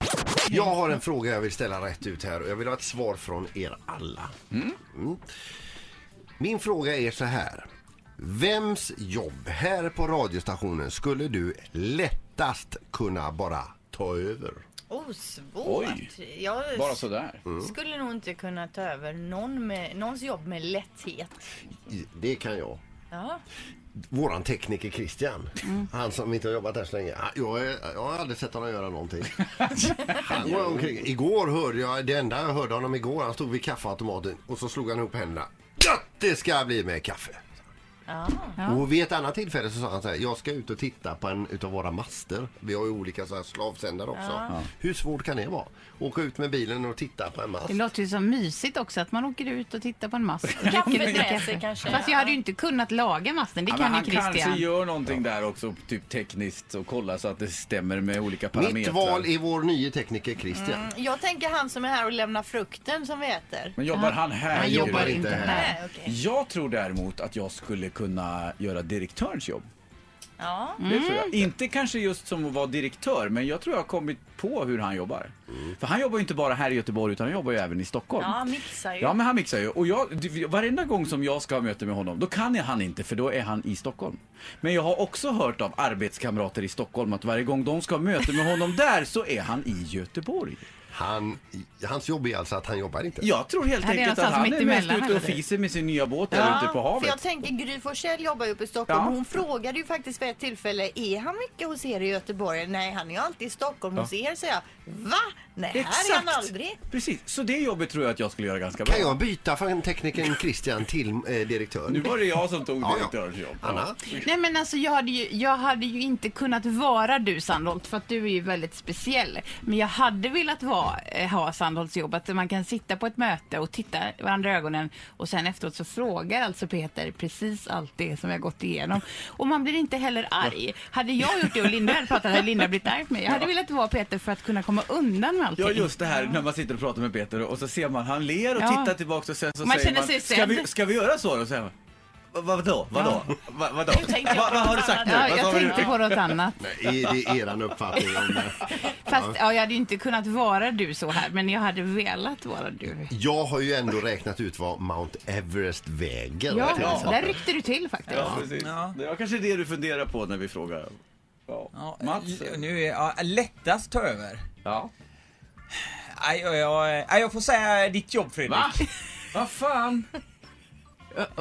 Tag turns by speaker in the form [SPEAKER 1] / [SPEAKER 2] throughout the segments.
[SPEAKER 1] nu.
[SPEAKER 2] Jag har en fråga jag vill ställa rätt ut här och jag vill ha ett svar från er alla. Mm. Min fråga är så här. Vems jobb här på radiostationen skulle du lättast kunna bara ta över?
[SPEAKER 1] Oh, svårt.
[SPEAKER 3] Oj.
[SPEAKER 1] Jag
[SPEAKER 3] Bara sådär.
[SPEAKER 1] skulle nog inte kunna ta över någon med, någons jobb med lätthet.
[SPEAKER 2] I- Det kan jag.
[SPEAKER 1] Ja.
[SPEAKER 2] Våran tekniker Christian, han som inte har jobbat här så länge. han- Jag, är- jag har aldrig sett honom göra någonting. Han går omkring. Igår hörde jag, det enda jag hörde honom igår, han stod vid kaffeautomaten och så slog han ihop händerna. Gött det ska bli med kaffe!
[SPEAKER 1] Ja.
[SPEAKER 2] Och vid ett annat tillfälle så sa han så här, jag ska ut och titta på en utav våra master. Vi har ju olika så här slavsändare också. Hur svårt kan det vara? Åka ut med bilen och titta på en mast.
[SPEAKER 4] Det låter ju som mysigt också att man åker ut och tittar på en mast. och dricker lite
[SPEAKER 1] Kaffedräser
[SPEAKER 4] kaffe.
[SPEAKER 1] kanske.
[SPEAKER 4] Fast jag hade ju inte kunnat laga masten, det
[SPEAKER 3] Ja, men
[SPEAKER 4] kan ju
[SPEAKER 3] han kanske
[SPEAKER 4] Christian.
[SPEAKER 3] gör någonting där också, typ tekniskt, och kollar så att det stämmer med olika parametrar.
[SPEAKER 2] Mitt val är vår nye tekniker Christian.
[SPEAKER 1] Jag tänker han som är här och lämnar frukten som vi äter.
[SPEAKER 3] Men jobbar han här?
[SPEAKER 4] Han
[SPEAKER 3] tycker
[SPEAKER 4] jobbar
[SPEAKER 3] du?
[SPEAKER 4] inte
[SPEAKER 2] inte
[SPEAKER 4] här.
[SPEAKER 1] Nej, okej.
[SPEAKER 3] Jag tror däremot att jag skulle kunna göra direktörens jobb.
[SPEAKER 1] Ja.
[SPEAKER 3] Det tror jag. Inte kanske just som att vara direktör, men jag tror jag har kommit på hur han jobbar.
[SPEAKER 4] Mm.
[SPEAKER 3] För han jobbar ju inte bara här i Göteborg, utan han jobbar ju även i Stockholm.
[SPEAKER 1] ja, mixar ju.
[SPEAKER 3] Ja, men han mixar ju. Och jag, du- varenda gång som jag ska ha möte med honom, då kan jag han inte för då är han i Stockholm. Men jag har också hört av arbetskamrater i Stockholm att varje gång de ska ha möte med honom där så är han i Göteborg.
[SPEAKER 2] Han, hans jobb är alltså att han jobbar inte.
[SPEAKER 3] Jag tror helt
[SPEAKER 4] Ja, det är
[SPEAKER 3] enkelt att
[SPEAKER 4] någonstans
[SPEAKER 3] han
[SPEAKER 4] mitt
[SPEAKER 3] är mest
[SPEAKER 4] emellan,
[SPEAKER 3] ute och
[SPEAKER 4] eller?
[SPEAKER 3] fiser med sin nya båt där ute på
[SPEAKER 1] för jag
[SPEAKER 3] havet.
[SPEAKER 1] tänker Gry Forssell jobbar ju uppe i Stockholm.
[SPEAKER 3] Ja.
[SPEAKER 1] Hon frågade ju faktiskt vid ett tillfälle, är han mycket hos er i Göteborg? Nej, han är ju alltid i Stockholm hos er, säger jag. Va? Nej, här är han aldrig.
[SPEAKER 3] Precis, så det jobbet tror jag att jag skulle göra ganska bra.
[SPEAKER 2] Kan jag byta från teknikern Christian till eh, direktör?
[SPEAKER 3] Nu var det jag som tog
[SPEAKER 2] Ja, ja.
[SPEAKER 3] direktörens jobb.
[SPEAKER 2] Anna?
[SPEAKER 4] Nej men alltså jag hade, ju, jag hade ju inte kunnat vara du Sandholt för att du är ju väldigt speciell. Men jag hade velat vara, eh, ha Sandholts jobb, att man kan sitta på ett möte och titta varandra i ögonen och sen efteråt så frågar alltså Peter precis allt det som jag gått igenom. Och man blir inte heller arg. Hade jag gjort det och Linda hade pratat hade Linda blivit arg på mig. Jag hade velat vara Peter för att kunna komma undan med allting.
[SPEAKER 3] Ja, just det här när man sitter och pratar med Peter och så ser man han ler och
[SPEAKER 4] Ja.
[SPEAKER 3] tittar tillbaka och sen så
[SPEAKER 4] Man
[SPEAKER 3] säger
[SPEAKER 4] känner
[SPEAKER 3] man
[SPEAKER 4] sig
[SPEAKER 3] ska
[SPEAKER 4] sedd."
[SPEAKER 3] vi, ska vi göra så då? Så här, "Va- vadå? Vadå? Va, vadå?
[SPEAKER 1] tänkte jag
[SPEAKER 3] Va,
[SPEAKER 1] på
[SPEAKER 3] vad har du
[SPEAKER 1] något
[SPEAKER 3] sagt nu?
[SPEAKER 4] Ja,
[SPEAKER 3] Vad sa
[SPEAKER 4] jag
[SPEAKER 3] du nu?"
[SPEAKER 4] tänkte på något annat.
[SPEAKER 2] Nej, är det eran uppfattning om det?
[SPEAKER 4] Fast ja, jag hade ju inte kunnat vara du så här, men jag hade velat vara du.
[SPEAKER 2] Jag har ju ändå räknat ut vad Mount Everest väger.
[SPEAKER 4] Ja,
[SPEAKER 2] till exempel.
[SPEAKER 4] där ryckte du till faktiskt.
[SPEAKER 3] Ja, precis. Det var kanske det du funderar på när vi frågar. Ja.
[SPEAKER 5] Ja,
[SPEAKER 3] Mats?
[SPEAKER 5] l- Nu är ja, lättast ta över.
[SPEAKER 3] Ja.
[SPEAKER 5] Aj, aj, aj, aj, jag får säga ditt jobb Fredrik.
[SPEAKER 3] Va? Vad fan?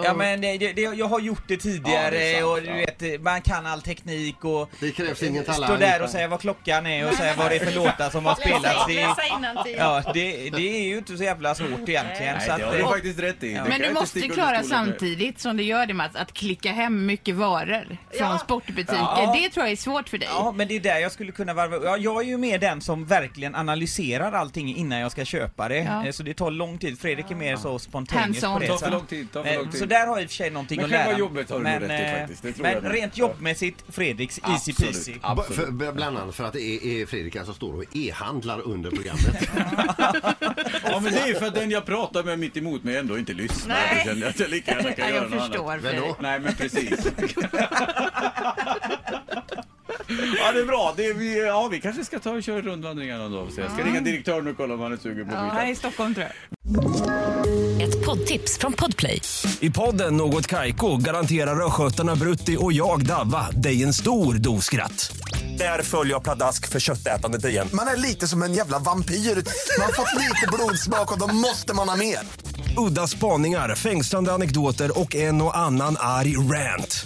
[SPEAKER 5] Ja, men det, det, det- jag har gjort det
[SPEAKER 3] Ja,
[SPEAKER 5] tidigare
[SPEAKER 3] det är sant,
[SPEAKER 5] och du
[SPEAKER 3] ja.
[SPEAKER 5] vet, man kan all teknik och
[SPEAKER 2] Det krävs ingen talang.
[SPEAKER 5] stå där och säga vad klockan är och säga vad det är för låtar som har spelats. Det,
[SPEAKER 1] Läsa innantill.
[SPEAKER 5] ja, det, det är ju inte så jävla svårt egentligen.
[SPEAKER 3] Nej,
[SPEAKER 5] så att,
[SPEAKER 3] det har du
[SPEAKER 5] eh,
[SPEAKER 3] faktiskt rätt i. Det kan
[SPEAKER 4] Men du
[SPEAKER 3] jag inte
[SPEAKER 4] måste
[SPEAKER 3] sticka
[SPEAKER 4] klara
[SPEAKER 3] under stolen med.
[SPEAKER 4] samtidigt som du gör det Mats, att klicka hem mycket varor från
[SPEAKER 1] Ja.
[SPEAKER 4] sportbutiker.
[SPEAKER 5] Ja.
[SPEAKER 4] Det tror jag är svårt för dig.
[SPEAKER 5] Ja, men det är där jag skulle kunna varva ja, Jag är ju mer den som verkligen analyserar allting innan jag ska köpa det.
[SPEAKER 4] Ja.
[SPEAKER 5] Eh, Så det tar lång tid. Fredrik är mer så spontaneous
[SPEAKER 4] Hands-on.
[SPEAKER 5] på det.
[SPEAKER 4] Tar
[SPEAKER 3] för
[SPEAKER 5] så-
[SPEAKER 3] lång tid, tar för
[SPEAKER 5] Eh,
[SPEAKER 3] lång tid.
[SPEAKER 5] Så där har jag i och för sig någonting
[SPEAKER 3] Men
[SPEAKER 5] att
[SPEAKER 3] själva
[SPEAKER 5] lära.
[SPEAKER 3] jobbet har du nog rätt i
[SPEAKER 5] eh,
[SPEAKER 3] faktiskt, det tror
[SPEAKER 5] Men
[SPEAKER 3] jag nog.
[SPEAKER 5] rent jobbmässigt, Fredriks easy peasy.
[SPEAKER 2] B-
[SPEAKER 3] Absolut. Absolut.
[SPEAKER 2] För, b- bland annat för att det är, är Fredrik alltså står och e-handlar under programmet.
[SPEAKER 3] Ja, men det är ju för att den jag pratar med mitt emot mig ändå inte lyssnar.
[SPEAKER 1] Nej.
[SPEAKER 3] Jag kände att jag lika gärna kan göra
[SPEAKER 4] Ja, jag
[SPEAKER 3] något annat.
[SPEAKER 4] förstår.
[SPEAKER 2] Vem då?
[SPEAKER 4] Fredrik.
[SPEAKER 3] Nej, men precis. ja, det är bra. Det är, vi- ja, vi kanske ska ta och köra rundvandringar någon dag. Så jag ska ringa direktören och kolla om han är sugen på att byta.
[SPEAKER 4] i Stockholm tror jag.
[SPEAKER 6] Ett poddtips från Podplay.
[SPEAKER 7] I podden Något Kaiko garanterar östgötarna Brutti och jag, Davva, dig en stor dos skratt. Där följer jag pladask för köttätandet igen.
[SPEAKER 8] Man är lite som en jävla vampyr. Man har fått lite blodsmak och då måste man ha mer.
[SPEAKER 7] Udda spaningar, fängslande anekdoter och en och annan arg rant.